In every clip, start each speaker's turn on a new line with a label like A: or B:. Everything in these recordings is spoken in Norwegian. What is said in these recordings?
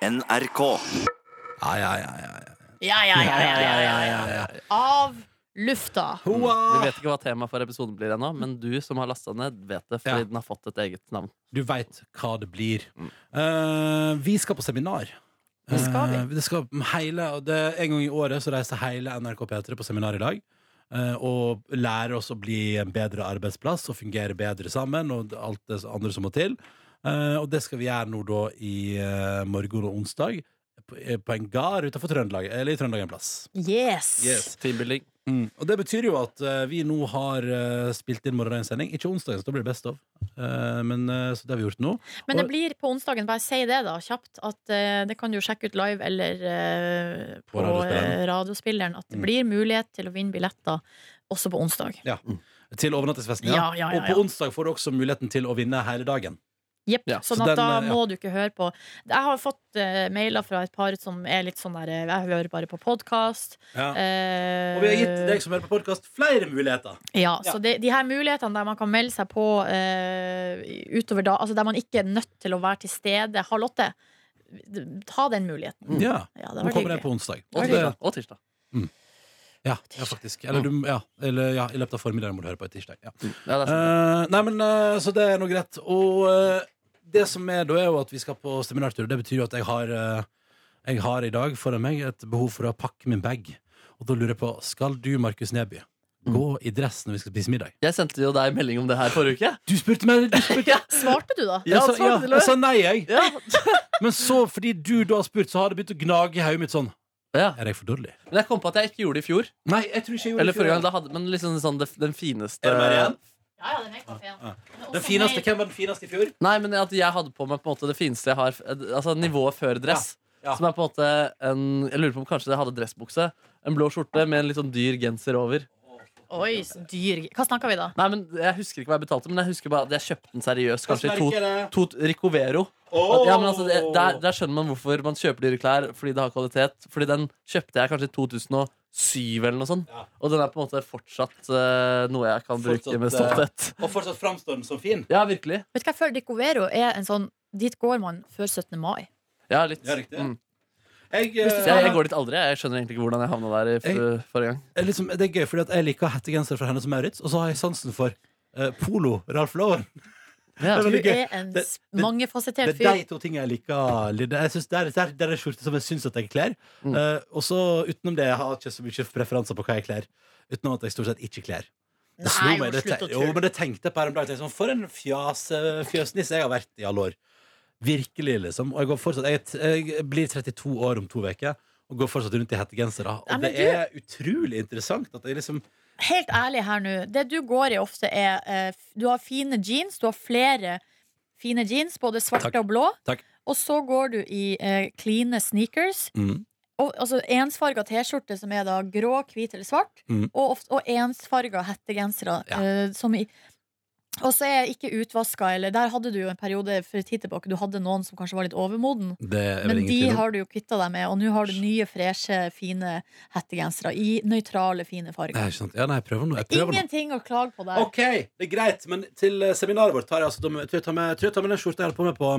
A: NRK.
B: Ja, ja, ja, ja, ja.
C: Ja, ja, ja, ja, ja, ja, ja. Av lufta.
D: Vi
B: Hoa!
D: vet ikke hva temaet for episoden blir ennå, men du som har lasta ned, vet det fordi
B: Ja.
D: den har fått et eget navn.
B: Du veit hva det blir. Eh, vi skal på seminar.
C: Det skal vi.
B: Eh, det skal hele, og det, en gang i året så reiser hele NRK P3 på seminar i dag. eh, og lærer oss å bli en bedre arbeidsplass og fungere bedre sammen. Og alt det andre som må til. Eh, og det skal vi gjøre nå da i eh, morgen og onsdag. På, eh, på en gard utenfor Trøndelag. Eller i Trøndelag en plass.
C: Yes.
B: Yes.
D: Teambuilding.
B: Mm. Og det betyr jo at eh, vi nå har eh, spilt inn morgendagens sending. Ikke onsdagen, så da blir det best of. Eh, men, eh, så det har vi gjort nå.
C: Men det
B: Og-
C: blir på onsdagen, bare si det da, kjapt, at eh, det kan du jo sjekke ut live eller eh,
B: På
C: på,
B: radiospilleren.
C: eh, radiospilleren, at det
B: Mm.
C: blir mulighet til å vinne billetter også på onsdag.
B: Til overnattingsfesten,
C: Ja, ja, ja,
B: Og på
C: ja.
B: onsdag får du også muligheten til å vinne hele dagen.
C: Jepp.
D: Ja,
C: sånn
B: så den,
C: at da
B: eh, ja.
C: må du ikke høre på. Jeg har fått eh, mailer fra et par som er litt sånn der eh, Jeg hører bare på podkast.
B: Og vi har gitt deg som hører på podkast, flere muligheter.
C: Ja,
B: Ja.
C: så de, de her mulighetene der man kan melde seg på eh, utover da, altså der man ikke er nødt til å være til stede halv åtte, ta den muligheten.
B: Ja,
C: Ja, det
B: Mm. Nå
C: var
B: kommer den
C: hyggelig.
B: på onsdag.
D: Og
B: Og
D: tirsdag. Og tirsdag.
B: det- ja, ja, faktisk. Eller, du, ja, eller ja, i løpet av formiddagen må du høre på et tirsdag. Ja.
D: Ja, det er sånn.
B: Mm. Eh, nei, men eh, Så det er nå greit. Og eh, det som er da, er jo at vi skal på seminartur. Det betyr jo at jeg har, eh, jeg har i dag foran meg et behov for å pakke min bag. Og da lurer jeg på, skal du, Markus Neby, gå i dress når vi skal spise middag?
D: Jeg sendte jo deg melding om det her forrige uke.
B: Du spurte meg! Du spurte.
C: Svarte du, da?
D: Ja,
B: jeg, sa,
D: svarte
B: ja,
D: du, eller?
B: jeg sa nei, jeg.
D: Ja.
B: Men så, fordi du da har spurt, så har det begynt å gnage i hodet mitt sånn.
D: ja.
B: Er jeg for dårlig?
D: Men jeg kom på at jeg ikke gjorde det i fjor.
B: Nei, jeg tror ikke jeg
D: Eller forrige gang da hadde, Men liksom sånn det, den fineste
B: Er det mer igjen?
C: Ja, ja, den er helt fin.
B: Ja, ja.
C: Men
B: Eh, Den
C: også
B: fineste,
C: mer-
B: Hvem var den fineste i fjor?
D: Nei, men at jeg hadde på meg på en måte det fineste jeg har Altså nivået før dress.
B: Ja, ja.
D: Som er på en måte en Jeg lurer på om kanskje jeg hadde dressbukse. En blå skjorte med en litt sånn dyr genser over.
C: Oi, så dyr Hva snakker vi da?
D: Nei, men Jeg husker ikke hva jeg betalte, men jeg husker bare at jeg kjøpte den seriøst. Kanskje i to,
B: Merker
D: to Ricovero. At, ja, men altså, det, der, der skjønner man hvorfor man kjøper dyre klær, fordi det har kvalitet. Fordi den kjøpte jeg kanskje i 2007 eller noe sånt.
B: Ja.
D: Og den er på en måte fortsatt eh, noe jeg kan
B: Fortsatt,
D: bruke med
B: eh,
D: stolthet.
B: Og fortsatt framstår den som fin.
D: Ja, virkelig.
C: Vet du hva, Før Dico Vero er en sånn Dit går man før 17. mai.
D: Ja, litt.
B: Ja, riktig.
D: Mm.
B: Jeg, eh,
D: Jeg, jeg går dit aldri. Jeg skjønner egentlig ikke hvordan jeg havna der i f
B: Jeg-
D: forrige gang.
B: eh, liksom, det er gøy, fordi at jeg liker hettegenser fra henne som Maurits, og så har jeg sansen for eh, polo Ralf Lauren.
D: Ja.
B: Det
C: Du
B: er veldig gøy.
C: er en
B: Det-
C: s-
B: det- Det
C: mangefasettert
B: er
C: fyr.
B: de to tingene jeg liker. litt. Jeg synes det, er, det, er, det er en skjorte som jeg syns at jeg kler. Eh, og så utenom det jeg har ikke så mye preferanser på hva jeg kler. Utenom at jeg stort sett ikke kler. Det slo
C: Nei,
B: meg,
C: jo,
B: det
C: slutt
B: te-
C: å
B: jo,
C: tulle.
B: men det tenkte jeg på her om dagen. tenkte Sånn, for en fjase- fjøsnisse jeg har vært i alle år. Virkelig, liksom. Og jeg, går fortsatt, jeg, er t- jeg blir 32 år om to uker og går fortsatt rundt i hettegenser. da.
C: Nei,
B: Og
C: men
B: det er utrolig interessant at jeg liksom
C: Helt ærlig her nå. Det du går i ofte, er eh, f- Du har fine jeans. Du har flere fine jeans, både svarte
B: Takk.
C: og blå.
B: Takk.
C: Og så går du i eh, cleane sneakers.
B: mm,
C: Og, altså ensfarga T-skjorte som er da grå, hvit eller svart.
B: Mm.
C: Og, ofte, og ensfarga hettegensere.
B: Ja.
C: eh, som i og så er ikke utvaska, eller Der hadde du jo en periode for en tid tilbake Du hadde noen som kanskje var litt overmoden.
B: Det er vel
C: Men de
B: ingenting.
C: har du jo kvitta deg med, og nå har du nye, freshe, fine hettegensere i nøytrale, fine
B: Det
C: farger.
B: er ikke sant. Ja, nei, jeg prøver nå. Jeg prøver nå.
C: Ingenting å klage på der.
B: Ok, det er greit, men til eh, seminaret vårt tar jeg altså da med- tror jeg tar med, tror jeg tar med den skjorta jeg holder på med på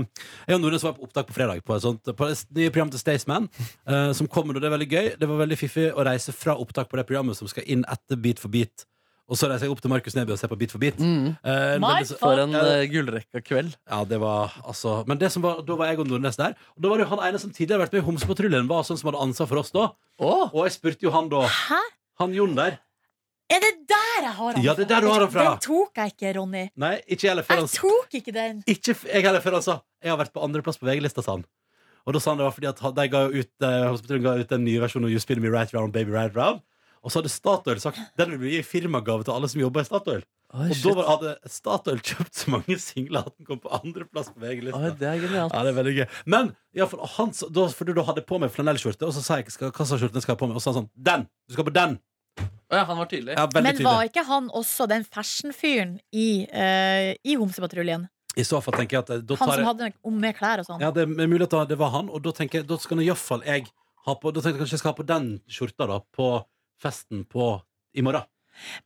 B: Jeg og Nordnes var på opptak på fredag på et sånt På det nye program til Staysman, eh, som kommer, og det er veldig gøy. Det var veldig fiffig å reise fra opptak på det programmet som skal inn etter Beat for beat. Og så reiser jeg opp til Markus Neby og ser på Beat for beat.
D: Mm.
B: Eh, en
C: My
B: veldig så-
D: For en uh, gullrekka kveld.
B: ja, det var altså Men det som var, da var jeg og Nordnes der. Og da var det jo han ene som tidligere har vært med i Homsepatruljen, var sånn som hadde ansvar for oss da.
D: Åh,
B: Og jeg spurte jo han da.
C: Hæ?
B: Han Jon der.
C: Er det der jeg har han
B: Ja, det er der du har han fra.
C: Den tok jeg ikke, Ronny.
B: Nei, ikke heller før
C: Jeg
B: han
C: tok ikke den.
B: Ikke f- jeg heller, før han sa Jeg har vært på andreplass på VG-lista, sa han. Og da sa han det var fordi at han- de ga jo ut, eh, Hospital ga ut den nye versjonen av You Spin Me Right Round, Baby Right Round. Og så hadde Statoil sagt den vil vi gi i firmagave til alle som jobber i Statoil.
D: Oi,
B: Og da
D: shit.
B: var, hadde Statoil kjøpt så mange singler at den kom på andreplass på
D: Oi,
B: VG-lista.
D: det er genialt.
B: Ja, det er veldig gøy Men i alle fall, han, sa- da, fordi da hadde jeg på meg flanellskjorte, og så sa jeg ikke skal- hva slags skjorte jeg skal ha på meg. Og så sa han sånn Den! Du skal på den!
D: Å ja, han var tydelig.
B: Ja, veldig
C: Men
B: tydelig.
C: var ikke han også den fashion-fyren i, eh, i Homsepatruljen?
B: I så fall tenker jeg at eh, da
C: Han
B: tar jeg
C: som hadde om med klær og sånn.
B: Ja, det er mulig at da- det var han, og da tenker jeg, da skal nå iallfall jeg ha på Da tenker jeg kanskje jeg skal ha på den skjorta, da, på festen på i morgen.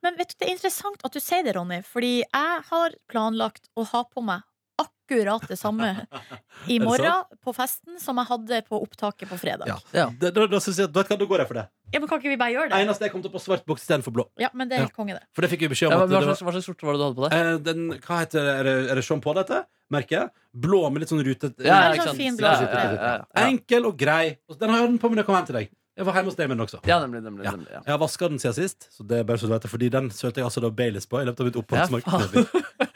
C: Men vet du, det er interessant at du sier det, Ronny, fordi jeg har planlagt å ha på meg akkurat akkurat det samme i
B: det
C: morgen på festen som jeg hadde på opptaket på fredag.
B: Ja.
C: Ja,
D: Ja.
B: Da, da, da, synes jeg, at- vet du hva, da går jeg for det.
C: men Kan ikke vi bare gjøre det?
B: Eneste jeg kom til på svart boks istedenfor blå.
C: Ja, men det er helt konge, det.
B: For det fikk vi beskjed
D: Ja,
B: om.
D: hva,
B: at
D: hva,
B: det var,
D: slags, hva slags skjorte var det du hadde på deg?
B: eh, den, hva heter det? Er det, er det Jean Paul dette? Merker jeg. Blå med litt sånn rutete
C: litt
D: ikke
C: sånn
D: sant?
C: fin blå
D: ja,
C: skjorte.
D: ja, ja, ja, ja.
B: Enkel og grei. Og Den har jeg den på meg når jeg kommer hjem til deg. Jeg var hjemme hos deg med den også.
D: ja, nemlig. nemlig, nemlig ja.
B: Jeg har vaska den siden sist, så det er bare så du vet det, fordi den sølte jeg altså da Baileys på i løpet av mitt oppholdsmarked.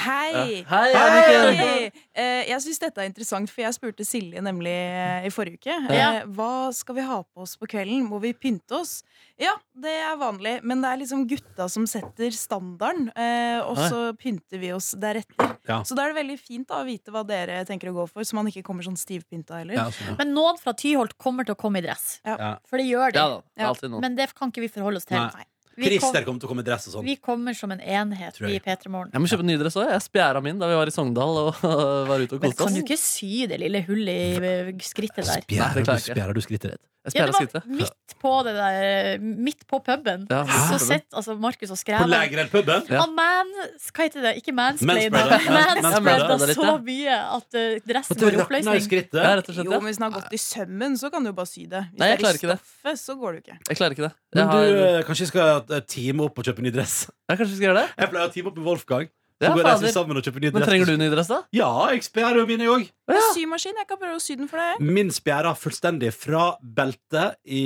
A: Hei!
D: Hei,
A: Hei!
D: Anniken!
A: Eh, jeg syns dette er interessant, for jeg spurte Silje nemlig eh, i forrige uke.
C: Ja.
A: eh, Hva skal vi ha på oss på kvelden? Må vi pynte oss? Ja, det er vanlig, men det er liksom gutta som setter standarden. eh, Og så pynter vi oss deretter.
B: Ja.
A: Så da er det veldig fint da, å vite hva dere tenker å gå for, så man ikke kommer sånn stivpynta heller.
B: Ja, sånn,
C: Men noen fra Tyholt kommer til å komme i dress.
A: Ja.
B: Ja.
C: For det gjør de.
D: Ja da. det er
A: Ja.
D: Alltid noen.
C: Men det kan ikke vi forholde oss til.
B: Nei.
C: Vi, kom,
B: Christer kommer til å komme i dress og sånn.
C: vi kommer som en enhet
B: Tror jeg.
C: i P3 Morgen.
D: Jeg må kjøpe en ny dress òg. Jeg spjæra min da vi var i Sogndal og var ute og
C: Men
D: koste
C: kan
D: oss.
C: du ikke sy det lille hullet i eh, skrittet der?
D: Nei,
B: Spjærer
D: det
B: du,
D: klarer jeg ikke.
B: spjærer du skrittet ditt?
D: Jeg
C: Ja,
D: spjæra
C: det
D: skrittet.
C: var midt på det der eh, Midt på puben.
D: Ja, midt på
C: så
D: puben.
C: sitter altså Markus og
B: På
C: skrever
B: Lægerel-puben?
D: Ja.
C: Han man, hva heter det? Ikke mansplainer.
B: Mansplainer. Mans-
C: Mansplainer
D: mansplainer litt,
C: så
D: ja.
C: mye at eh, dressen
B: Det
C: går i
B: rakna i
C: oppløsning.
D: Ja,
B: skrittet.
D: rett og slett.
A: Jo, men
D: Ja.
A: hvis den har gått i sømmen, så kan du jo bare sy det. Hvis
D: Nei, jeg
A: det er
D: klarer ikke
A: i
D: det.
A: stoffet, så går det jo ikke.
D: Jeg klarer ikke det. Jeg,
B: Men du,
D: har,
B: eh, kanskje jeg skal eh, time opp og kjøpe ny dress?
D: ja, kanskje vi skal gjøre det?
B: Jeg pleier å time opp med Wolfgang. Så
D: Ja,
B: går reiser vi
D: fader.
B: sammen og kjøper ny dress.
D: Men trenger du ny dress, da?
B: Ja, jeg spjærer jo mine òg.
D: Ja.
A: Symaskin, jeg kan prøve å sy den for deg.
B: Min spjæra fullstendig fra beltet i,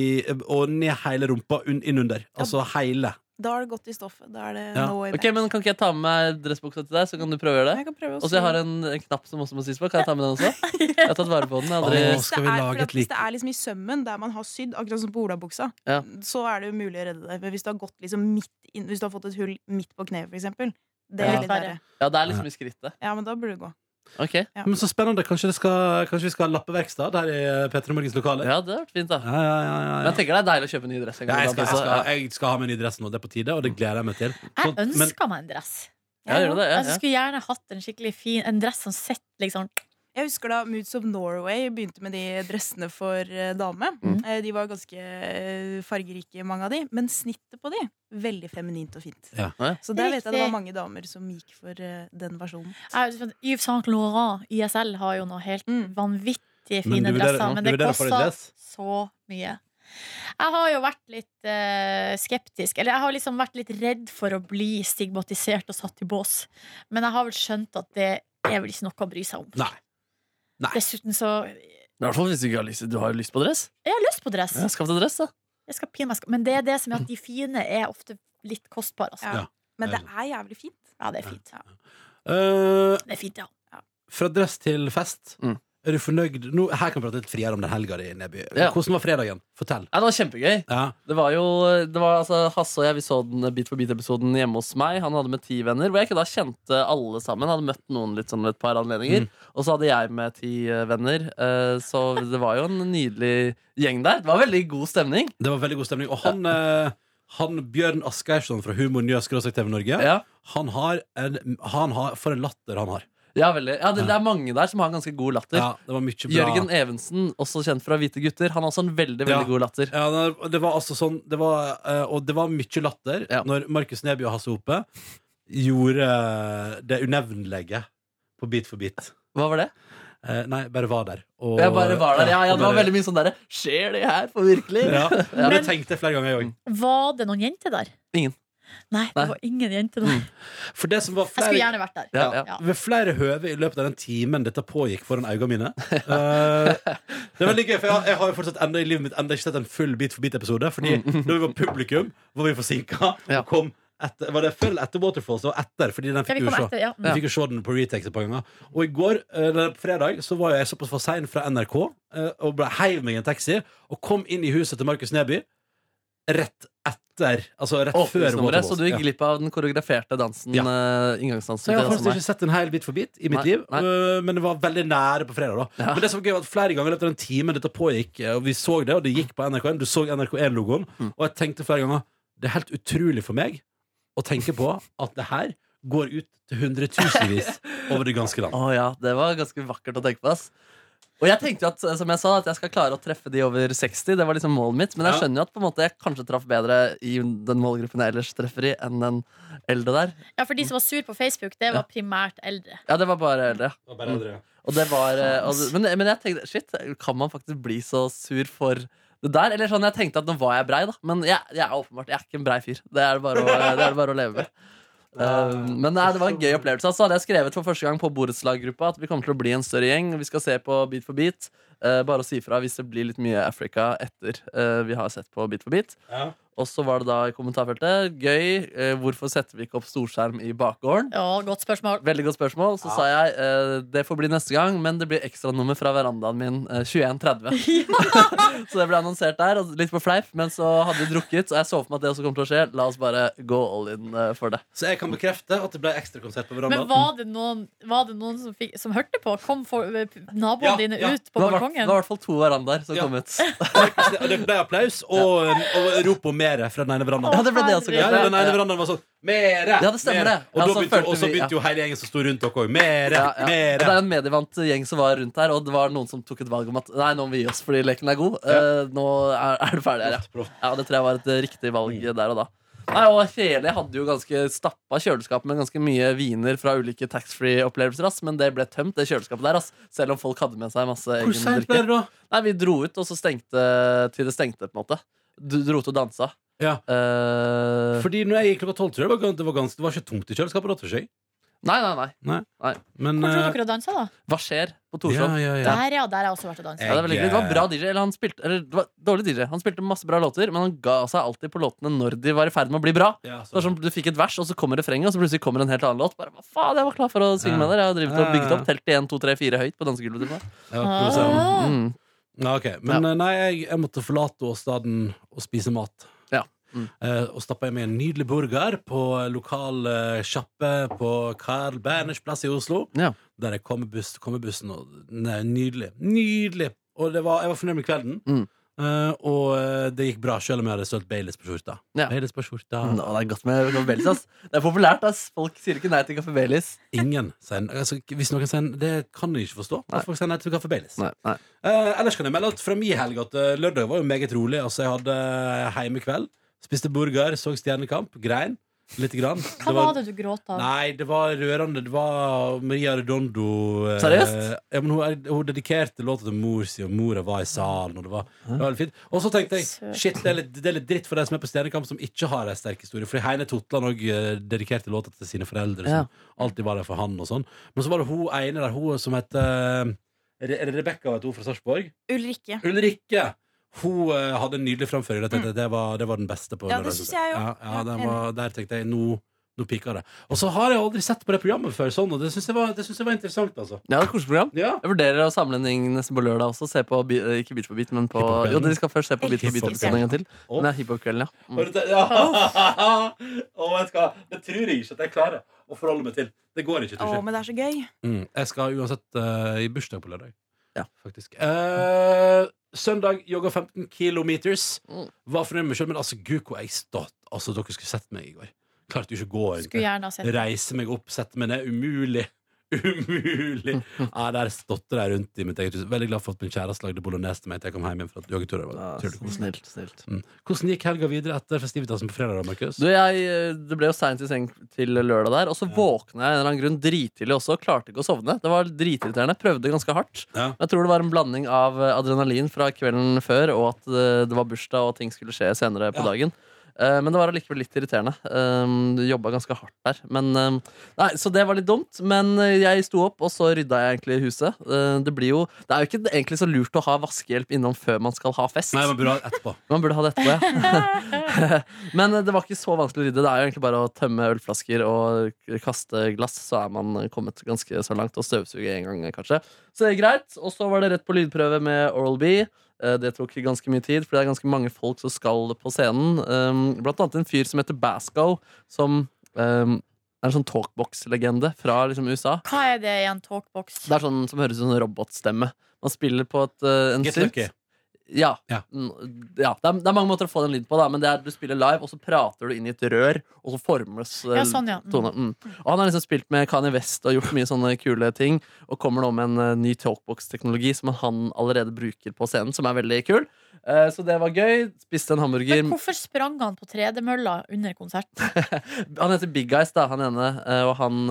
B: og ned hele rumpa un, innunder. Altså hele.
A: Da har det gått i stoffet. Da er det
B: Ja.
A: no way back.
D: Ok, men Kan ikke jeg ta med meg dressbuksa til deg, så kan du prøve å gjøre det?
A: Jeg kan prøve å
D: Og så
A: sy
D: jeg har en en knapp som også må sys på. Kan jeg ta med den også? Jeg har tatt vare på den. Jeg har aldri...
B: Åh.
A: Hvis
B: skal
A: det
B: vi
A: er-
B: lage
A: for
B: et
A: at Hvis
B: lik-
A: det er liksom i sømmen der man har sydd, akkurat som på olabuksa,
D: Ja.
A: så er det jo mulig å redde det. Men hvis du har gått liksom midt inn, Hvis du har fått et hull midt på kneet, for eksempel, det er
D: Ja.
A: litt verre.
D: Ja, det er liksom i skrittet.
A: Ja, men da burde det gå.
D: Ok,
A: Ja.
B: Men så spennende. Kanskje, det skal, kanskje vi skal ha lappeverksted her i eh, P3 Morgens lokaler?
D: Ja, det har vært fint, da.
B: Ja, ja, ja, ja,
D: Men jeg tenker det er deilig å kjøpe ny dress. en
B: Ja,
D: gang
B: jeg, skal,
D: iblant
B: jeg,
D: også.
B: skal, jeg skal ha meg ny dress nå. Det er på tide,
D: Mm.
B: og det gleder jeg meg til.
C: Jeg
B: Så- men-
C: ønska meg en dress.
D: Ja, gjør du det? Ja,
C: Jeg
D: ja.
C: skulle gjerne hatt en skikkelig fin En dress som sitter liksom
A: Jeg husker da Moods of Norway begynte med de dressene for eh, dame.
D: Mm.
A: Eh, de var ganske eh, fargerike, mange av de. Men snittet på de, veldig feminint og fint.
B: Ja.
D: Ja.
A: Så der vet jeg det
C: Riktig.
A: var mange damer som gikk for eh, den versjonen.
C: jeg, Yves Saint Laurent, ISL, har jo noe helt
A: Mm.
C: vanvittige
B: Men
C: fine
B: du vurderer-
C: dresser. Men
B: du
C: det
B: vurderer å få deg
C: koster
B: dress?
C: så mye. Jeg har jo vært litt eh, skeptisk. Eller jeg har liksom vært litt redd for å bli stigmatisert og satt i bås. Men jeg har vel skjønt at det er vel ikke noe å bry seg om.
B: Nei. Nei.
C: Dessuten så
D: Men I hvert fall hvis du ikke har lyst, du har jo lyst på dress.
C: Jeg har lyst på dress.
D: Ja, Skaff deg dress, da.
C: Jeg skal pine meg skal. Men det er det som er at de fine er ofte litt kostbare. Altså.
A: Ja.
B: Ja.
A: Men det er jævlig fint.
C: Ja, det er fint.
B: Eh,
C: Det er fint, ja.
B: fra dress til fest.
D: Mm.
B: Er du fornøyd? Nå, her kan vi prate litt friere om den helga di, Neby.
D: Ja.
B: Hvordan var fredagen? Fortell.
D: Ja, det var kjempegøy.
B: Ja.
D: Det var jo, det var altså Hasse og jeg vi så den Beat for beat-episoden hjemme hos meg. Han hadde med ti venner, hvor jeg ikke da kjente alle sammen. Hadde møtt noen litt sånn ved et par anledninger.
B: Mm.
D: Og så hadde jeg med ti eh, venner. eh, Så det var jo en nydelig gjeng der. Det var veldig god stemning.
B: Det var veldig god stemning. Og han, eh, han Bjørn Asgeirsson fra Humor Njø skråstrek TV Norge,
D: Ja,
B: han har en han har, For en latter han har.
D: ja veldig. Ja, det, det er mange der som har ganske god latter.
B: Ja, E. det var mye bra.
D: Jørgen Evensen, også kjent fra Hvite gutter, han har også en veldig
B: Ja.
D: veldig god latter.
B: Ja, det- det var altså sånn det var, eh, Og det var mye latter
D: Ja.
B: når Markus Neby og Hasse Hope gjorde eh, det unevnelige på Bit for bit.
D: Hva var det?
B: Eh, nei, bare var der. Og,
D: Jeg bare var der. Ja, ja,
B: og
D: det var
B: bare-
D: veldig mye sånn derre Skjer det her for virkelig?
B: ja.
D: Ja.
B: Men det tenkte jeg flere ganger, jeg òg.
C: Var det noen jenter der?
D: Ingen.
C: Nei, det
D: Nei.
C: var ingen jenter
B: Mm.
C: der.
B: For det som var
C: Jeg skulle
B: flere
C: gjerne vært der.
D: Ja, ja.
C: Ja.
B: ved flere høve i løpet av den timen dette pågikk foran øynene mine. Eh, det er veldig gøy, for jeg, jeg har jo fortsatt enda i livet mitt Enda ikke sett en full Bit for bit-episode. Fordi da vi var publikum, var vi forsinka.
D: Mm. Ja.
B: Og kom etter, var det før eller etter Waterfalls? Og etter, fordi den
C: Ja,
B: fikk
C: vi
B: vi jo
C: kom
B: se.
C: etter, ja.
B: Vi fikk jo se den på retakes et par ganger. Og i går, eh, eller på fredag, så var jeg såpass for sein fra NRK eh, og ble heiv meg i en taxi og kom inn i huset til Markus Neby rett etter Altså rett før
D: Åpningsnummeret, så du gikk
B: Ja.
D: glipp av den koreograferte dansen.
B: Ja.
D: eh, inngangsdansen
B: Så jeg
D: til
B: har
D: Hasse og
B: faktisk
D: meg.
B: ikke sett en hel bit for bit i mitt
D: Nei,
B: liv,
D: nei.
B: øh, men det var veldig nære på fredag. da Men det som var gøy var at flere ganger i løpet av den timen dette pågikk, øh, og vi så det, og det gikk på NRK1, du så NRK1-logoen, og jeg tenkte flere ganger det er helt utrolig for meg å tenke på at det her går ut til hundretusenvis over det ganske land.
D: Å ja, det var ganske vakkert å tenke på. ass Og Og jeg tenkte jo at eh, som jeg sa At jeg skal klare å treffe de over 60. Det var liksom målet mitt. Men jeg
B: Ja.
D: skjønner jo at på en måte jeg kanskje traff bedre i den målgruppen jeg ellers treffer i, enn den eldre der.
C: Ja, for de som var sur på Facebook, det var primært eldre.
D: Ja, det var bare eldre.
B: Det var bare eldre, ja.
D: Og det var, eh, altså, men, men jeg tenkte Shit, kan man faktisk bli så sur for det der? Eller sånn, jeg tenkte at nå var jeg brei, da. Men jeg, jeg er åpenbart jeg er ikke en brei fyr. Det er det bare å, det er det bare å leve med. Eh, men nei, det var en gøy opplevelse. Så hadde jeg skrevet for første gang på borettslaggruppa at vi kommer til å bli en større gjeng. Vi skal se på Beat for beat. Eh, bare å si ifra hvis det blir litt mye Africa etter eh, vi har sett på Beat for beat.
B: Ja.
D: Og så var det da i kommentarfeltet gøy. eh, hvorfor setter vi ikke opp storskjerm i bakgården?
C: Ja, godt spørsmål.
D: Veldig godt spørsmål. Så
B: Ja.
D: sa jeg eh, det får bli neste gang, men det blir ekstranummer fra verandaen min eh, 21.30. så det ble annonsert der. og Litt på fleip, men så hadde vi drukket, og jeg så for meg at det også kom til å skje. La oss bare gå all in eh, for det.
B: Så jeg kan bekrefte at det ble ekstrakonsert på
C: Men
B: verandaen.
C: var det noen, var det noen som, fikk, som hørte på? Kom for, eh, naboene
B: Ja,
C: dine
B: ja.
C: ut
D: Det
C: på
D: var, i hvert- det
C: balkongen?
D: var i hvert fall to verandaer som
B: Ja.
D: kom ut. Ja,
B: Og det ble applaus og, øh, og rop om mere fra den ene verandaen.
D: det ble det også.
B: Ja,
D: kanskje.
B: den ene verandaen var sånn Mere!
D: Ja, det stemmer
B: mere!»
D: det.
B: Og,
D: Ja,
B: da
D: så
B: begynte,
D: følte
B: og så
D: vi-
B: begynte jo hele gjengen som sto rundt dere òg. Mere!
D: Ja, ja. Og Det
B: Mere!
D: er en medievant gjeng som var rundt her, og det var noen som tok et valg om at nei, nå må vi gi oss fordi leken er god. Eh, nå er, er det ferdig her, ja.
B: Proft, proft.
D: Ja, det tror jeg var et eh, riktig valg
B: Mm.
D: der og da. Nei, og hele jeg hadde jo ganske stappa kjøleskap med ganske mye viner fra ulike taxfree-opplevelser, ass, men det ble tømt, det kjøleskapet der, ass, selv om folk hadde med seg masse
B: Hvor
D: egen
B: seint ble
D: drikke.
B: det, da?
D: Nei, vi dro ut, og så stengte til det stengte, på en måte. Du dro ut og dansa.
B: Ja.
D: Eh,
B: Fordi når jeg gikk klokka tolv, tror jeg det var, gans- det var, ganske, det var ikke tungt i kjøleskapet. da, tror jeg.
D: nei, nei, nei.
B: Men
C: Hvor tror
B: eh,
C: dere å danse, da?
D: Hva skjer på
B: ja,
D: Torshov? Ja, Eh,
B: ja, ja.
C: Der, ja. Der har jeg også vært og dansa.
D: det, er veldig hyggelig. det var bra DJ. Eller han spilte Eller det var dårlig DJ. Han spilte masse bra låter, men han ga seg alltid på låtene når de var i ferd med å bli bra.
B: Ja, så-
D: Det var som Du fikk et vers, og så kommer refrenget, og så plutselig kommer en helt annen låt. Bare, hva faen, Jeg var klar for å synge med dere. Jeg har drevet og bygget opp telt i 1, 2, 3, 4 høyt på dansegulvet. til meg.
B: Ja, provoserende.
C: Ah.
D: Mm.
B: Ja, ok. Men eh, nei, jeg, jeg måtte forlate åstaden og spise mat.
D: Ja. Mm.
B: Eh, og stappa jeg med en nydelig burger på lokal eh, sjappe på Carl Berners plass i Oslo.
D: Ja.
B: Der jeg kom med buss, kom med bussen. Og, nei, nydelig. Nydelig! Og det var, jeg var fornøyd med kvelden.
D: Mm.
B: Eh, og eh, det gikk bra, selv om jeg hadde sølt Baileys på skjorta.
D: Ja.
B: Baileys på skjorta.
D: Nå, det er godt med Kaffe Baileys. ass. Det er populært. ass Folk sier ikke nei til Kaffe Baileys.
B: Ingen sier altså, Hvis noen sier Det kan jeg ikke forstå.
D: Nei.
B: At folk sier nei til kaffe Baileys.
D: Nei, nei.
B: Eh, ellers kan jeg melde at fra min helg at eh, lørdag var jo meget rolig. Altså, jeg hadde heimekveld, spiste burger, så Stjernekamp, grein lite grann.
C: Hva var det du gråt av?
B: Nei, det var rørende. Det var Maria Redondo eh,
D: Seriøst?
B: Ja, men hun, hun dedikerte låta til mor si, og mora var i salen, og det var, det var veldig fint. Og så tenkte jeg
C: Søt.
B: shit, det er, litt, det er litt dritt for de som er på Stjernekamp, som ikke har ei sterk historie. Fordi Heine Totland òg dedikerte låta til sine foreldre,
D: Ja.
B: som alltid var der for han og sånn. Men så var det hun ene der, hun som heter eh, Re er det Rebekka, vet du, hun fra Sarpsborg?
A: Ulrikke.
B: Ulrikke! Hun eh, hadde en nydelig framføring. og Det, det, det, var, det var den beste. på
A: Mm. Ja,
B: lørdag,
A: det
B: synes
A: synes jeg jo.
B: Ja, ja,
A: Ja,
B: den
A: enig.
B: var, Der tenkte jeg nå, nå pika det. Og så har jeg aldri sett på det programmet før, sånn, og det syns jeg, var- det synes jeg var interessant. altså
D: Ja, det er et koselig program.
B: ja.
D: Jeg vurderer å samle en gjeng nesten på lørdag også. Se på, bi- eh, ikke Beat for beat, men på
B: Hiphop-kvelden.
D: Jo, dere skal først se på Beat for
A: Elsker
D: beat-episoden en gang til. Men det er hiphop-kvelden, ja.
B: Og
D: Mm.
B: dette- ja. Å, vet du hva? Det tror jeg ikke at jeg klarer å forholde meg til. Det går ikke.
A: Å,
B: tror jeg.
A: men det er så gøy.
B: Mm. Jeg skal uansett eh, i bursdag på lørdag.
D: Ja.
B: Faktisk. Eh, søndag jogga 15 kilometers.
D: Mm.
B: Var fornøyd med meg sjøl, men altså, gud, hvor jeg stått. Altså, dere skulle sett meg i går. Klarte jo ikke å gå. egentlig.
C: Skulle gjerne ha sett.
B: Reise meg opp, sette meg ned. Umulig! Umulig! Ja, der stotter jeg rundt i mitt eget hus. Veldig glad for at min kjæreste lagde bolognese til meg etter jeg kom hjem igjen fra joggeturen. Det var
D: Ja,
B: utrolig koselig.
D: snilt, snilt.
B: Hvordan gikk helga videre etter festivitasen på fredag, da, Markus?
D: Du, jeg, eh, det ble jo seint i seng til lørdag der, og så våkna jeg en eller annen grunn drittidlig også. og Klarte ikke å sovne. Det var dritirriterende. Prøvde ganske hardt.
B: Ja.
D: Men Jeg tror det var en blanding av eh, adrenalin fra kvelden før, og at eh, det var bursdag og at ting skulle skje senere på
B: Ja.
D: dagen. Eh, Men det var allikevel litt irriterende. Um, Jobba ganske hardt der. Men, um, nei, så det var litt dumt. Men eh, jeg sto opp, og så rydda jeg egentlig huset. Eh, Det, blir jo, det er jo ikke egentlig så lurt å ha vaskehjelp innom før man skal ha fest.
B: Nei, men bra etterpå.
D: Man burde ha det etterpå, ja. Men det var ikke så vanskelig å rydde. Det er jo egentlig bare å tømme ølflasker og kaste glass, så er man kommet ganske så langt. Og støvsuge en gang, kanskje. Så det er greit. Og så var det rett på lydprøve med Oral-B. Eh, Det tok ganske mye tid, for det er ganske mange folk som skal på scenen. Um, Blant annet en fyr som heter Basco, som um, er en sånn talkbox-legende fra liksom USA.
C: Hva er det i en talkbox?
D: Det er sånn som høres ut som en robotstemme. Man spiller på et, eh, en
B: Get
D: synth.
B: lucky.
D: Ja.
B: Ja.
D: Mm, ja. Det, er, det er mange måter å få den lyden på, da, men det er du spiller live, og så prater du inn i et rør, og så formes eh,
C: Ja, sånn, ja. Mm.
D: tone. Mm. Og han har liksom spilt med Kanye West og gjort mye sånne kule ting, og kommer nå med en eh, ny talkbox-teknologi som han allerede bruker på scenen, som er veldig kul. Eh, så det var gøy. Spiste en hamburger.
C: Men hvorfor sprang han på tredemølla under konserten?
D: Han heter Big Guys, da, han ene, eh, og han,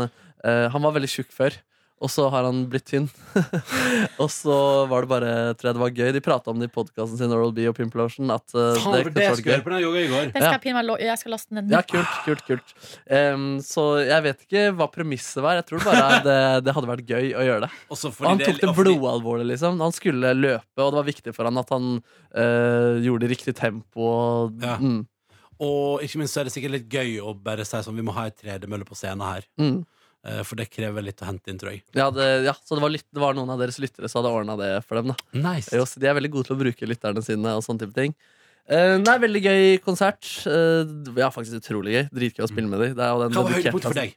D: eh, han var veldig tjukk før. Og så har han blitt tynn. og så var det bare tror jeg det var gøy. De prata om det i podkasten sin, Oral B og Pimplotion. At, eh,
B: Faen, for
D: kunne
B: det jeg
D: vært
B: skulle
D: gøy.
B: gjøre på den yoga i går.
C: Den skal jeg pinne meg lo- Jeg skal laste den ned.
D: Ja, kult, kult, kult. Em, så jeg vet ikke hva premisset var. Jeg tror bare at det, det hadde vært gøy å gjøre det.
B: Også fordi
D: Og han
B: det-
D: tok det
B: og fordi-
D: blodalvorlig, liksom. Han skulle løpe, og det var viktig for han at han eh, gjorde riktig tempo. Og,
B: Ja.
D: mm,
B: Og ikke minst så er det sikkert litt gøy å bare si sånn Vi må ha ei tredemølle på scenen her.
D: mm.
B: Eh, For det krever litt å hente inn, tror jeg.
D: Ja, det, ja, så det var, lytt- det var noen av deres lyttere som hadde ordna det for dem. da
B: Nice.
D: Jo, så de er veldig gode til å bruke lytterne sine og sånne type ting. Eh, nei, veldig gøy konsert. Eh, ja, faktisk utrolig gøy. Dritgøy å spille med dem. Det, er jo den
B: Hva var
D: dedikerte-
B: høydepunktet for deg?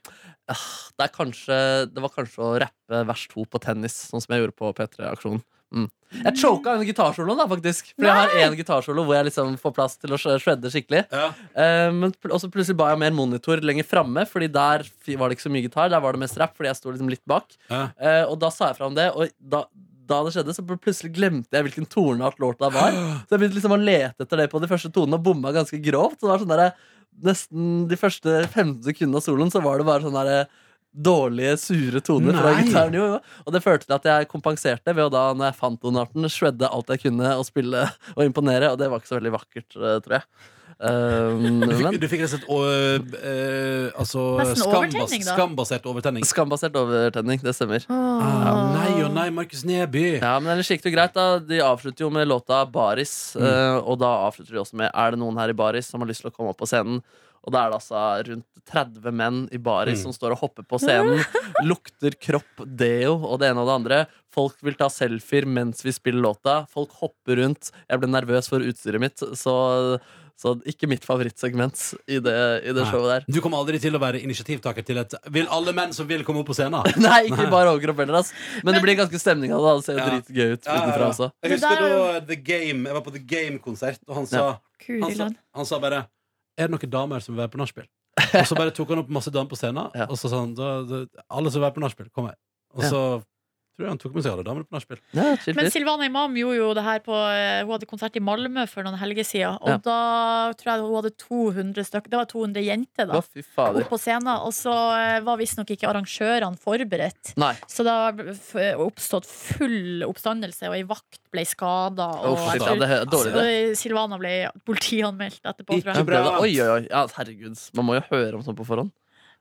D: Ah, det, er kanskje, det var kanskje å rappe vers to på tennis, sånn som jeg gjorde på P3-aksjonen. Mm. Jeg choka en gitarsolo, da, faktisk. For jeg har én gitarsolo hvor jeg liksom får plass til å sh- shredde skikkelig.
B: Ja.
D: Eh, men pl og så plutselig ba jeg mer monitor lenger framme, Fordi der f- var det ikke så mye gitar. Der var det mest rap, fordi jeg sto liksom litt bak.
B: Ja.
D: Eh, og da sa jeg fra om det, og da, da det skjedde, så pl- plutselig glemte jeg hvilken toneart låta var. Så jeg begynte liksom å lete etter det på de første tonene og bomma ganske grovt. Så det var sånn der, Nesten de første 15 sekundene av soloen så var det bare sånn der Dårlige, sure toner fra
B: Nei.
D: gitaren. Jo, jo. Og det førte til at jeg kompenserte ved å da, når jeg fant donarten, shredde alt jeg kunne og spille og imponere. Og det var ikke så veldig vakkert, eh, tror jeg. Um,
B: Du fikk,
D: men
B: du fikk rett og slett å, eh, altså,
C: Nesten
B: skambas-
C: overtenning, da.
B: skambasert overtenning.
D: skambasert overtenning, det stemmer.
B: Ah, nei og nei, Markus Neby.
D: Ja, men ellers gikk det jo greit da De avslutter jo med låta Baris eh, Og da avslutter de også med Er det noen her i Baris som har lyst til å komme opp på scenen? Og da er det altså rundt 30 menn i Baris
B: Mm.
D: Som står og hopper på scenen Lukter kropp, deo og det ene og det andre Folk vil ta selfier mens vi spiller låta Folk hopper rundt Jeg ble nervøs for utstyret mitt Så, så ikke mitt favorittsegment I det, i det
B: Nei.
D: showet der
B: Du kommer aldri til å være initiativtaker til et Vil alle menn som vil komme opp på scenen?
D: Nei, ikke bare overkropp heller ass. Men det
C: Men-
D: blir ganske stemning av det da. Det ser jo
B: Ja.
D: dritgøy
B: Ja,
D: ut
B: ja,
D: utenfra
B: ja.
D: også
B: Jeg
C: Det
B: husker
C: der er
B: da The Game Jeg var på The Game-konsert, og han sa, han, sa,
C: Kuriland.
B: han sa bare Er det noen damer som vil være på nachspiel? Og så bare tok han opp masse damer på scenen,
D: Ja.
B: og så sa han da, da, Alle som vil være på nachspiel, kom her. Og
D: Ja.
B: så tror jeg han tok med seg alle damene på nachspiel.
D: ja, chill,
C: Men
D: chill.
C: Silvana Imam gjorde jo det her på eh, Hun hadde konsert i Malmö for noen helger siden. Og
D: Ja.
C: da tror jeg hun hadde 200 stykker. Det var 200 jenter, da.
D: Å, fy fader
C: Opp på scenen. Og så eh, var visstnok ikke arrangørene forberedt.
D: Nei.
C: Så det har f- oppstått full oppstandelse, og ei vakt ble skada. Og
D: Uff,
C: jeg
D: shit, ja,
C: tror-
D: det er dårlig, det.
C: og Silvana ble politianmeldt etterpå, tror
B: Ikke
D: Jeg
C: jeg.
B: bra.
D: prøvde- Oi, oi, oi. Ja, herregud. Man må jo høre om sånt på forhånd.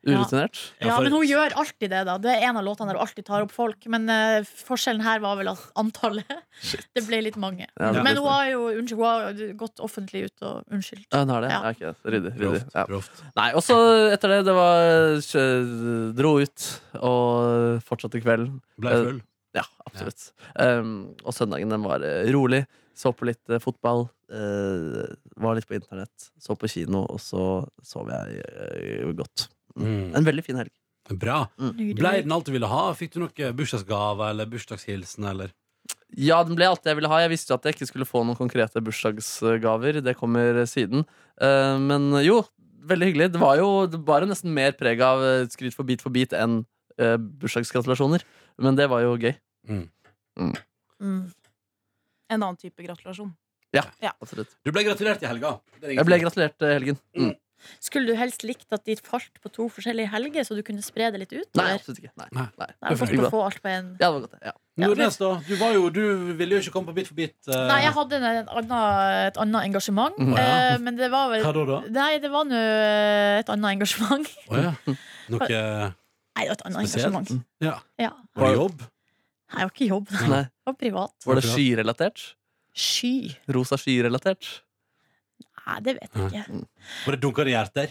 D: Urutinert.
C: Ja, men hun gjør alltid det, da. Det er en av låtene der hun alltid tar opp folk. Men eh, forskjellen her var vel at antallet. Det ble litt mange.
D: Ja, det
C: men
D: blir
C: hun har jo unnskyld, hun har jo gått offentlig ut og unnskyldt.
D: Ja, hun har det?
C: Ja.
D: Ja. ok, ryddig. ryddig.
B: Proft,
D: Ja.
B: proft.
D: Nei, og så etter det, det var kjø- Dro ut og fortsatte kvelden.
B: Ble
D: Eh,
B: full.
D: Ja, absolutt. Um, og søndagen den var eh, rolig. Så på litt eh, fotball. eh, var litt på internett. Så på kino, og så sov jeg eh, godt.
B: Mm.
D: En veldig fin helg.
B: Bra.
C: Nydelig.
B: Ble den alt du ville ha? Fikk du noe bursdagsgave eller bursdagshilsen eller
D: Ja, den ble alt jeg ville ha. Jeg visste jo at jeg ikke skulle få noen konkrete bursdagsgaver. Det kommer siden. Eh, Men jo, veldig hyggelig. Det var jo det bar jo nesten mer preg av eh, skryt for bit for bit enn eh, bursdagsgratulasjoner. Men det var jo gøy.
C: Mm.
A: En annen type gratulasjon.
D: Absolutt.
B: Du ble gratulert i helga. Det er ingen
D: Jeg ble
B: tvil.
D: gratulert eh, helgen. Mm.
C: Skulle du helst likt at de falt på to forskjellige helger, så du kunne spre det litt ut?
D: Nei,
C: eller?
D: absolutt ikke. Nei.
B: Nei.
D: Nei.
C: Nei,
D: det var
C: godt
D: ikke
C: å
D: bra.
C: få alt på en
D: Ja, det var godt. Ja.
C: Ja.
B: Nordnes, da? Du, var jo, du ville jo ikke komme på Bit for bit. eh,
C: Nei, jeg hadde en, en annen, et annet engasjement,
D: Mhm.
C: eh, men det var vel
B: Hva da, da?
C: Nei, det var nå eh, et annet engasjement.
B: Å ja. Noe
C: Nei, det var et annet
B: Spesielt.
C: engasjement.
D: Mm.
B: Ja.
C: Ja.
B: Var det jobb?
C: Nei, det var ikke jobb, det
D: Nei.
C: var privat.
D: Var det skyrelatert?
C: Sky.
D: Rosa skyrelatert?
C: Nei, det vet jeg ikke.
B: Var det dunkende hjerter?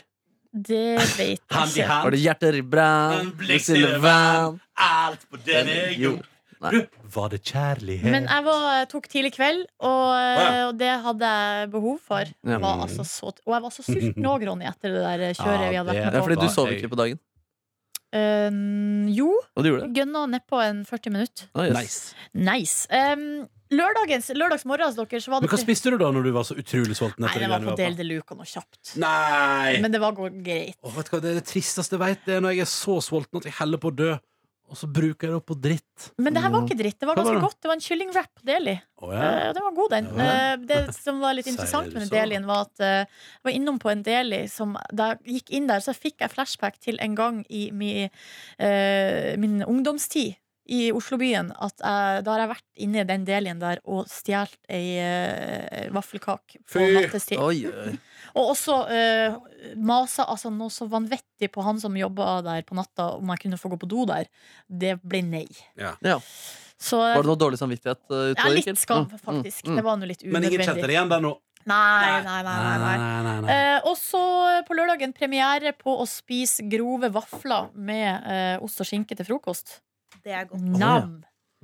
C: Det vet jeg
B: Hand i
C: ikke.
B: hand?
D: Var det hjerter i brann?
B: En blikkstille vann. Alt på den jeg
D: Jo.
B: gjorde. Du, var det kjærlighet?
C: Men jeg var, eh, tok tidlig kveld, og, eh,
B: ja.
C: og det hadde jeg behov for.
D: Ja.
C: Jeg var altså så, og jeg var så sulten òg, Ronny, etter det der eh, kjøret
B: Ja,
C: vi hadde
B: det-
C: vært
D: Ja,
C: med på. Ehm,
D: fordi du sov ikke på dagen.
C: Eh, jo,
D: Og du gjorde det?
C: gønna nedpå en 40 minutter.
D: Å, yes.
B: Nice.
C: Nice. Um, lørdagens, lørdagsmorgens deres var
B: Men
C: det
B: hva spiste du da når du var så utrolig sulten?
C: Nei,
B: etter
C: det
B: det
C: var
B: greiene
C: på
B: vi
C: Del de Luca noe kjapt.
B: Nei!
C: Men det var go- greit.
B: Åh, vet du hva, det er det tristeste jeg vet. Det er når jeg er så sulten at jeg heller på å dø, og så bruker jeg det opp på dritt.
C: Men det her var ikke dritt. Det var
B: Hva var
C: ganske
B: det?
C: godt. Det var en kyllingwrap på Deli.
B: Å ja.
C: Eh, Den var god, den.
B: Ja.
C: Eh, Det som var litt
B: Sier
C: interessant
B: du
C: med den
B: så.
C: delien, var at eh, jeg var innom på en deli som Da jeg gikk inn der, så fikk jeg flashback til en gang i mi, eh, min ungdomstid i Oslobyen. At jeg, da har jeg vært inne i den delien der og stjålet ei eh, vaffelkake på
B: Fy!
C: nattestid.
D: Oi, oi.
C: Og også uh, masa altså, noe så vanvittig på han som jobba der på natta, om jeg kunne få gå på do der. Det ble nei.
D: Ja.
C: Så
D: Var det noe dårlig samvittighet?
C: ja,
D: eh, utover,
C: litt
D: Mikkel?
C: skam,
D: Mm, mm,
C: faktisk.
D: mm.
C: Det var nå litt
B: Men ingen kjente
C: unødvendig.
B: det igjen der nå?
C: Nei, nei, nei, nei, nei.
B: nei, nei.
C: Eh, og så eh, på lørdagen premiere på å spise grove vafler med eh, ost og skinke til frokost.
A: Det er godt.
C: Nam!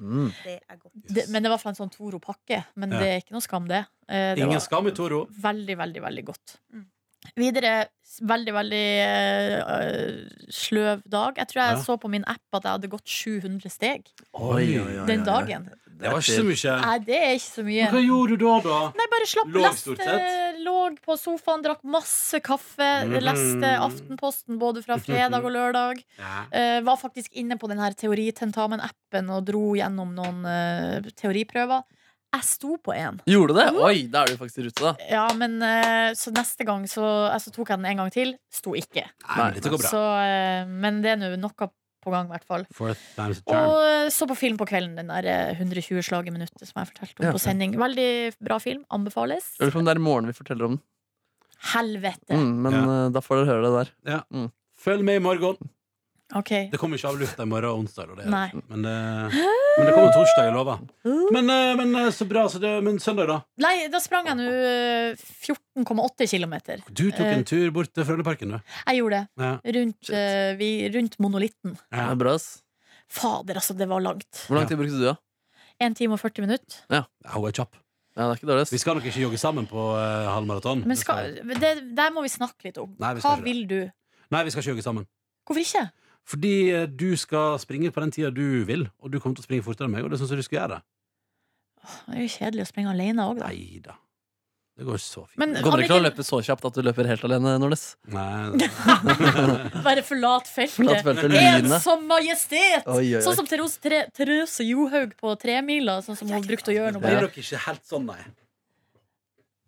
D: Mm.
A: Det er godt.
C: Det, men det var fra en sånn Toro-pakke. Men
B: Ja.
C: det er ikke noe skam, det. Eh, det
B: Ingen
C: var
B: skam i Toro.
C: veldig, veldig, veldig godt.
A: Mm.
C: Videre s- veldig, veldig eh, sløv dag. Jeg tror jeg
B: Ja.
C: så på min app at jeg hadde gått 700 steg
D: Oi, oi, oi,
C: den
D: oi.
C: dagen.
B: Det var ikke så mye.
C: Nei, det er ikke så mye.
B: Men hva gjorde du da, da?
C: Nei, bare slapp
B: Låg
C: leste,
B: stort sett.
C: låg på sofaen, drakk masse kaffe,
B: Mhm.
C: leste Aftenposten både fra fredag og lørdag. Eh, var faktisk inne på den her teoritentamen-appen og dro gjennom noen eh, teoriprøver. Jeg sto på en.
D: Gjorde det? Oi, da er du faktisk i rute, da.
C: Ja, men eh, så neste gang så, altså, tok jeg den en gang til. Sto ikke.
B: Nei, men dette går bra.
C: Så, eh, men det er nå noe på gang, i hvert fall.
B: Fourth time's a charm.
C: Og eh, så på film på kvelden, den der eh, 120 slag i minuttet som jeg fortalte om
D: Ja.
C: på sending. Veldig bra film. Anbefales.
B: Mm.
D: Jeg lurer på om det er i morgen vi forteller om den.
C: Helvete!
D: Mm, men
B: Ja.
D: eh, da får dere høre det der.
B: Følg med i morgen.
C: Ok.
B: Det kommer ikke av lufta i morgen og onsdag. da, Det. er
C: Nei.
B: det. Men, det, men det kommer torsdag, jeg lover. Men, eh, men eh, så bra. Så det, men søndag, da?
C: Nei, da sprang jeg nå eh, 14,8 km.
B: Du tok
C: Eh.
B: en tur bort til Frøyneparken, du.
C: Jeg gjorde det.
B: Ja.
C: Rundt,
D: Shit.
C: eh, vi, rundt monolitten.
D: Det
B: Ja.
D: er bra, ass.
C: Fader, altså, det var langt.
D: Hvor lang tid brukte du, da?
C: 1 time og 40 minutter.
B: Ja, Hun er kjapp.
D: Ja, det er ikke dårlig,
B: Vi
D: ass.
B: skal nok ikke jogge sammen på eh, halvmaraton.
C: Men skal, det, der må vi snakke litt om.
B: Nei, vi skal
C: Hva
B: ikke det.
C: vil du?
B: Nei, vi skal ikke jogge sammen.
C: Hvorfor ikke?
B: Fordi eh, du skal springe på den tida du vil, og du kommer til å springe fortere enn meg, og det syns jeg du skal gjøre.
C: Det er jo kjedelig å springe alene òg, da.
B: Nei da. Det går så fint.
C: Men
D: Går dere ikke an å
C: Anniken,
D: løpe så kjapt at du løper helt alene, Nordnes?
B: Nei, nei.
C: bare forlat
D: For at
C: feltet.
D: feltet lynet.
C: Ensom majestet!
D: Oi, oi, oi.
C: Sånn som til Rose Tre- Therese Johaug på tremila, sånn som hun brukte å gjøre nå.
B: Det er
C: Bare.
B: nok ikke helt sånn, nei.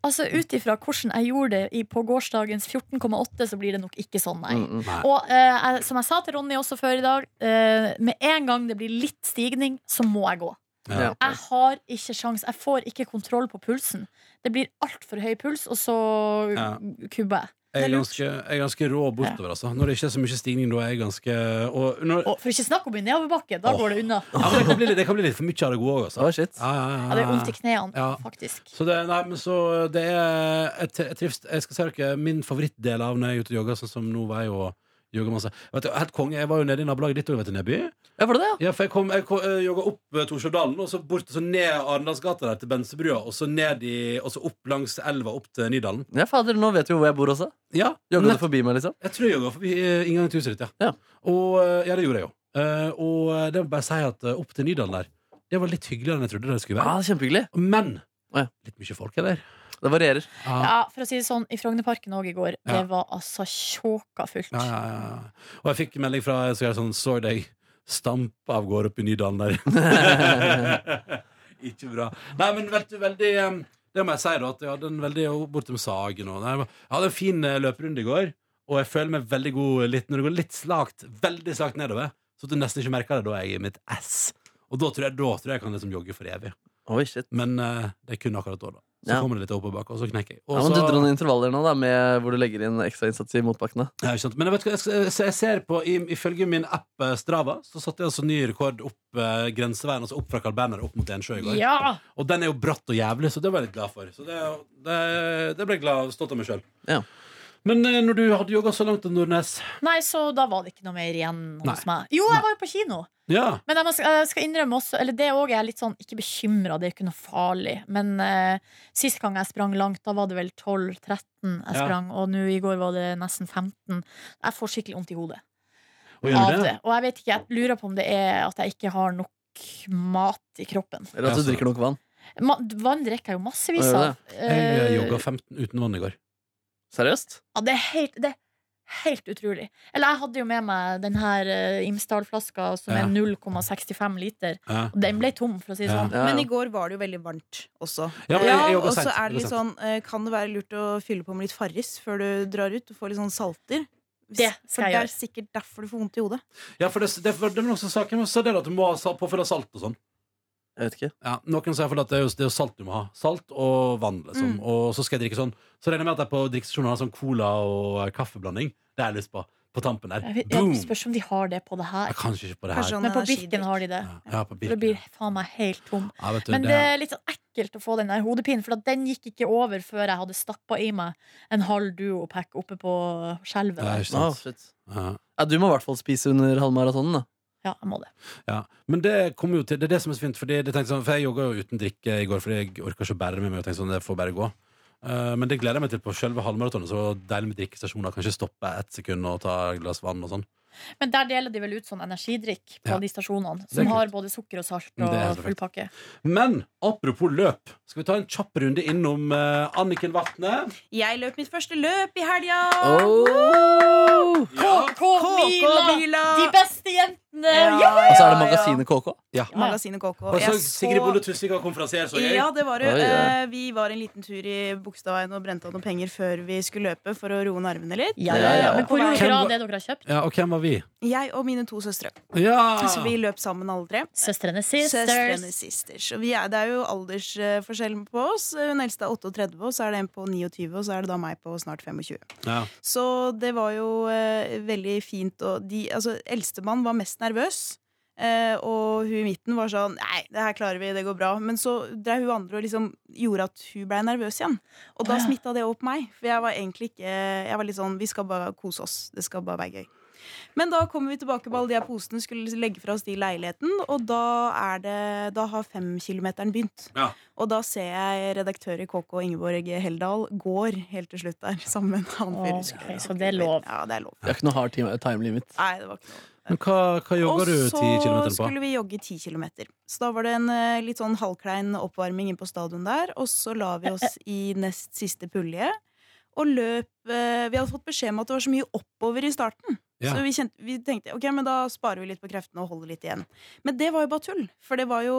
C: Altså, Ut ifra hvordan jeg gjorde det i, på gårsdagens 14,8, så blir det nok ikke sånn, nei.
D: Mm, mm.
C: Og eh, jeg- som jeg sa til Ronny også før i dag, eh, med en gang det blir litt stigning, så må jeg gå.
D: Ja.
C: Jeg har ikke sjans, jeg får ikke kontroll på pulsen. Det blir altfor høy puls, og så
B: Ja.
C: kubber jeg.
B: Jeg er,
C: Det er
B: ganske, jeg er ganske rå bortover, altså. Når det ikke er så mye stigning, da er jeg ganske og når,
C: Og for ikke snakk om i nedoverbakke, da
B: Åh.
C: går det unna.
B: ja, men det, kan bli, litt- det kan bli litt for mye av det gode òg, altså.
D: Oi, shit.
B: Ja, ja, ja,
C: Ja, det er vondt i
B: ja.
C: knærne,
B: Ja.
C: faktisk.
B: Så det, nei, men så eh, det er Jeg, tri- jeg trives Jeg skal si dere min favorittdel av når jeg er ute og jogger, sånn som nå var jeg og jogger masse. Vet du, helt konge, Jeg var jo nede i nabolaget ditt òg, vet du, Neby.
D: Ja, var det det, ja?
B: Ja, for jeg, kom, jeg, kom, jeg jogga opp eh, Torsjødalen, og så bort og så ned Arendalsgata der til Bensebrua, og så ned i Og så opp langs elva opp til Nydalen.
D: Ja, fader, nå vet vi jo hvor jeg bor også.
B: Ja,
D: Jogget du forbi meg, liksom?
B: Jeg tror jeg jogga forbi eh, inngangen til huset ditt, ja.
D: Ja.
B: Og eh, ja, det gjorde jeg jo. Eh, og eh, det må jeg bare si at eh, opp til Nydalen der, det var litt hyggeligere enn jeg trodde det skulle
D: Ja,
B: være.
D: Ah, Kjempehyggelig.
B: Men
D: Ja.
B: litt mye folk er der.
D: Det varierer.
C: Ja, for å si det sånn, I Frognerparken òg i går.
B: Ja.
C: Det var altså tjåka fullt.
B: Ja, ja, ja. Og jeg fikk melding fra en som gjør sånn Så deg stampe av gårde opp i Nydalen der. Ikke bra. Nei, men vet du, veldig eh, Det må jeg si, da, at jeg hadde en veldig og bortom Sagen og nei, Jeg hadde en fin eh, løperunde i går, og jeg føler meg veldig god eh, litt når det går litt slakt, veldig slakt nedover. Så at du nesten ikke merker det da jeg er i mitt ess. Og da tror jeg, da tror jeg jeg kan liksom jogge for evig.
D: Oi, shit.
B: Men eh, det er kun akkurat da, da. Så
D: Ja.
B: kommer det litt opp og bak, og så knekker jeg. Og
D: Ja, men du
B: så-
D: dro noen intervaller nå, da, med hvor du legger inn ekstra innsats i motbakkene.
B: Ja, ikke sant. Men jeg vet, ikke, jeg, skal- så jeg ser på, i- ifølge min app eh, Strava, så satte jeg altså ny rekord opp eh, grenseveien, altså opp fra Carl Berner opp mot Ensjø i går.
C: Ja!
B: Og den er jo bratt og jævlig, så det var jeg litt glad for. Så det, det, det ble jeg glad av, stolt av meg sjøl.
D: Ja.
B: Men eh, når du hadde jogga så langt, Nordnes
C: Nei, så da var det ikke noe mer igjen hos meg. Jo,
B: Nei.
C: jeg var jo på kino!
B: Ja,
C: Men jeg må- jeg skal innrømme også Eller det òg er jeg litt sånn ikke bekymra, det er jo ikke noe farlig. Men eh, sist gang jeg sprang langt, da var det vel 12-13 jeg
B: Ja.
C: sprang, og nå i går var det nesten 15. Jeg får skikkelig vondt i hodet
B: og gjør
C: av
B: du det?
C: det. Og jeg vet ikke, jeg lurer på om det er at jeg ikke har nok mat i kroppen.
D: Eller
B: Ja,
D: at du
B: så-
D: drikker nok vann.
C: Ma vann drikker jeg jo massevis
D: Ja,
C: av.
B: Jeg
C: Eh,
B: eh, jogga 15 uten vann i går.
D: Seriøst?
C: Ja, det er helt, det er helt utrolig. Eller jeg hadde jo med meg den her eh, Imsdal-flaska som
B: Ja.
C: er 0,65 liter.
B: Ja.
C: Og den ble tom, for å si det
B: Ja.
C: sånn.
D: Ja,
A: Men i
D: ja.
A: går var det jo veldig varmt også.
B: Ja, men jeg- jeg
A: Ja,
B: jogger
A: og så
B: sent,
A: er det
B: jogger
A: litt sånn eh, Kan det være lurt å fylle på med litt Farris før du drar ut? Du får litt sånn salter. Hvis-
C: Det skal
A: for
C: jeg
A: det er
C: gjøre.
A: sikkert derfor du får vondt i hodet.
B: Ja, for det, det, det er noen som sa hvem som sa det at du må ha salt, påfylle salt og sånn.
D: Jeg vet ikke.
B: Ja, noen sa i hvert fall at det er, jo, det er jo salt du må ha. Salt og vann, liksom.
A: Mm.
B: Og så skal jeg drikke sånn. Så regner jeg med at jeg på drikkestasjonen har sånn cola og eh, kaffeblanding. Det har jeg lyst på. På tampen der.
C: Jeg,
B: Boom!
C: jeg spørs om de har det på det
B: Jeg
C: her.
B: kan ikke på det
A: Kanskje
B: her.
A: sånn
C: Men på
A: energidrikk.
C: Birken har de det.
B: Ja, ja, på
C: For det
B: Birken.
C: blir faen meg helt tom.
B: Ja, vet du,
C: Men det
B: det
C: er litt sånn ekkelt å få den der hodepinen, for at den gikk ikke over før jeg hadde stappa i meg en halv duopack oppe på skjelvet.
B: Ja,
C: der.
B: ikke sant.
D: Å, shit.
B: ja.
D: Ja, du må i hvert fall spise under halvmaratonen, da.
C: Ja, jeg må det.
B: Ja, men det kommer jo til Det er det som er så fint, fordi det tenkte sånn, for jeg jogga jo uten drikke i går fordi jeg orka ikke å bære det med meg. Og tenkte sånn, det får bare gå Eh, Men det gleder jeg meg til på selve halvmaratonet. Så deilig med drikkestasjoner. Kanskje stoppe ett sekund og ta et glass vann og sånn.
C: Men der deler de vel ut sånn energidrikk på
B: Ja.
C: de stasjonene,
B: Det er
C: som har både sukker og salt
B: Det er helt perfekt.
C: og full pakke.
B: Men apropos løp, skal vi ta en kjapp runde innom eh, Anniken Vatne?
A: Jeg løp mitt første løp i helga!
D: Ah, Oh!
C: KK Mila!
A: KK-bila!
C: De beste jentene!
A: Ja,
C: Ja.
A: ja,
D: Og så er det
A: ja.
D: magasinet KK.
A: Magasinet KK.
B: Og så
A: Jeg
B: Sigrid Bonde Tusvik var konferansier, så jeg.
A: Ja, det var jo.
D: Oi, ja.
A: Eh, Vi var en liten tur i Bogstadveien og brente av noen penger før vi skulle løpe for å roe nervene litt. Eh,
C: Ja,
D: Ja,
C: ja,
D: ja.
C: ja. Men hvor
A: Hvem
C: gjorde dere
B: var-
C: av det dere har kjøpt?
B: Ja, og hvem var vi?
A: Jeg og mine to søstre.
B: Ja!
A: Så vi løp sammen alle tre.
C: Søstrene
A: Søstrene
C: Sisters.
A: sisters. Og vi er, det er jo aldersforskjell på oss. Hun eldste er 38, og så er det en på 29, og så er det da meg på snart 25.
B: Ja.
A: Så det var jo eh, veldig fint. Og de, altså, eldstemann var mest nervøs. Eh, og hun i midten var sånn Nei, det her klarer vi, det går bra. Men så dreiv hun andre og liksom gjorde at hun blei nervøs igjen. Og da
C: Å, ja.
A: smitta det opp meg. For jeg var egentlig ikke Jeg var litt sånn Vi skal bare kose oss. Det skal bare være gøy. Men da kommer vi tilbake på alle de her posene, skulle liksom legge fra oss de i leiligheten, og da, er det, da har femkilometeren begynt.
B: Ja.
A: Og da ser jeg redaktør i KK Ingeborg Heldal går helt til slutt der sammen med han
C: Å,
A: fyren. husker jeg
C: ok,
A: ikke
C: så det er
A: hva
C: lov.
A: heter. Ja, det er lov.
D: Det er ikke noe hard time, time limit.
A: Nei, det var ikke noe.
B: Men hva, hva jogger du ti
A: Og
B: kilometer
A: så
B: på?
A: skulle vi jogge ti kilometer. Så da var det en eh, litt sånn halvklein oppvarming inn på stadion der, og så la vi oss i nest siste pulje. Og løp eh, Vi hadde fått beskjed om at det var så mye oppover i starten.
B: Ja.
A: Så vi, kjente, vi tenkte ok, men da sparer vi litt på kreftene og holder litt igjen. Men det var jo bare tull, for det var jo,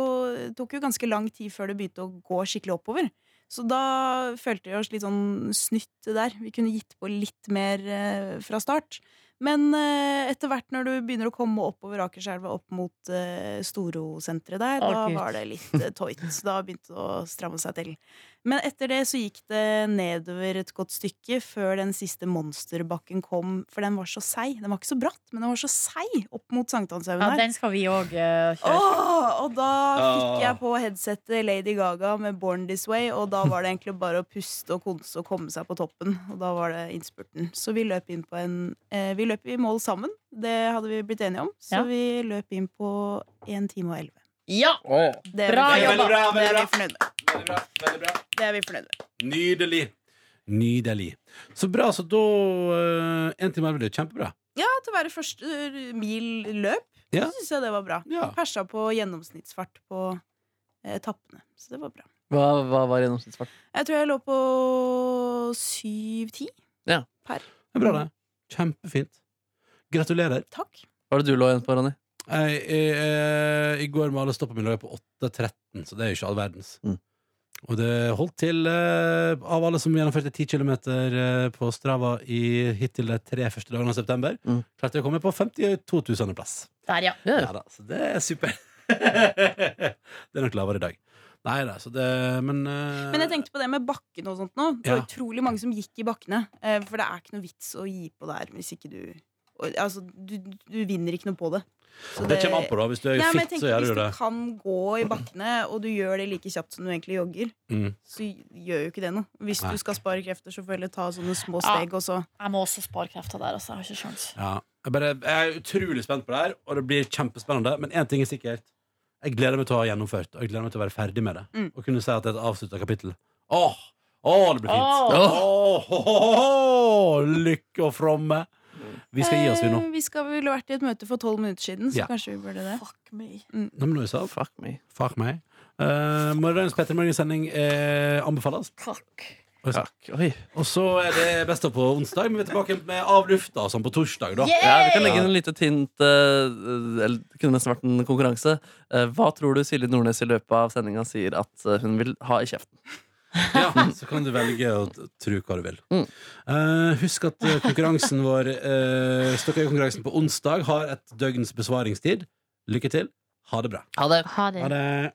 A: tok jo ganske lang tid før det begynte å gå skikkelig oppover. Så da følte vi oss litt sånn snytt der. Vi kunne gitt på litt mer eh, fra start. Men eh, etter hvert når du begynner å komme oppover Akerselva, opp mot eh, Storosenteret der,
C: Å,
A: da
C: Gud.
A: var det litt eh, tøyt. Så da begynte det å stramme seg til. Men etter det så gikk det nedover et godt stykke før den siste monsterbakken kom. For den var så seig. Den var ikke så bratt, men den var så seig opp mot
C: Ja,
A: Sankthanshaugen der.
C: den skal vi eh, òg kjøre.
A: Åh, og da
B: Åh.
A: fikk jeg på headsetet Lady Gaga med 'Born This Way', og da var det egentlig bare å puste og konse og komme seg på toppen. Og da var det innspurten. Så vi løp inn på en eh, Vi løp i mål sammen, det hadde vi blitt enige om. Så
C: Ja.
A: vi løp inn på 1 time og 11.
C: Ja!
A: Det er
C: Bra
A: vi fornøyd
B: jobba. Veldig bra, veldig bra.
A: med. Det er vi fornøyd med.
B: Veldig bra, veldig bra.
A: Det er vi fornøyd med.
B: Nydelig. Nydelig. Så bra, så da eh, En time er vel det. Kjempebra.
A: Ja, til å være første eh, mil løp,
B: Ja.
A: så syns jeg det var bra.
B: Ja.
A: Persa på gjennomsnittsfart på eh, etappene. Så det var bra.
D: Hva, hva var gjennomsnittsfart?
A: Jeg tror jeg lå på 7-10.
B: Det er bra, det. Kjempefint. Gratulerer.
A: Takk.
D: Hva var det du lå igjen på, Ronny?
B: Jeg, jeg, jeg, I går med alle stoppene mine lå jeg på 8.13, så det er jo ikke all verdens.
D: Mm.
B: Og det holdt til eh, av alle som gjennomførte 10 km på Strava i hittil de tre første dagene av september,
D: Mm.
B: klarte jeg å komme på 52 000. plass.
C: Der, ja.
D: Ja,
B: Ja da, så det er super. det er nok lavere i dag. Nei da, så det Men, eh,
A: Men jeg tenkte på det med bakkene og sånt nå. Det var
B: Ja.
A: utrolig mange som gikk i bakkene. eh, For det er ikke noe vits å gi på det her hvis ikke du og- Altså, du, du vinner ikke noe på det. Så
B: det kommer an på, da. Hvis du er
A: Nei, men jeg
B: fit, så
A: tenker,
B: gjør
A: hvis
B: du
A: du
B: det.
A: kan gå i bakkene, og du gjør det like kjapt som du egentlig jogger,
B: Mm.
A: så gjør jo ikke det noe. Hvis
B: Nei.
A: du skal spare krefter, så får du heller ta sånne små
C: Ja.
A: steg, og så
C: Jeg må også spare krefter der, altså. Jeg har ikke sjans.
B: Ja. Jeg, bare, jeg er utrolig spent på det her, og det blir kjempespennende. Men én ting er sikkert. Jeg gleder meg til å ha gjennomført, og jeg gleder meg til å være ferdig med det.
A: Mm.
B: Og kunne si at det er et avslutta kapittel. Åh, åh, det blir fint!
C: Åh.
B: Åh, åh, åh, åh, lykke og fromme! Vi skal gi oss, vi nå.
A: Eh, Vi skal vel ha vært i et møte for tolv minutter siden, så
B: Ja.
A: kanskje vi burde det.
C: Fuck me.
B: Nå må du si opp.
D: Fuck me.
B: Fuck meg. Uh, Morgendagens Petter Morgen-sending eh, anbefales.
C: Takk.
B: Oi, sant.
D: Takk. Oi.
B: Og så er det best av på onsdag, men vi er tilbake med avlufta sånn på torsdag, da.
D: Ja, vi kan
C: Yay!
D: legge inn en lite hint. eh, Eller det kunne nesten vært en konkurranse. Eh, Hva tror du Silje Nordnes i løpet av sendinga sier at eh, hun vil ha i kjeften?
B: Ja, så kan du velge å t- tro hva du vil.
D: Mm.
B: Eh, husk at eh, konkurransen vår, uh, Stokkøy-konkurransen på onsdag, har et døgns besvaringstid. Lykke til. Ha det bra.
D: Ha det.
C: Ha det.
B: det.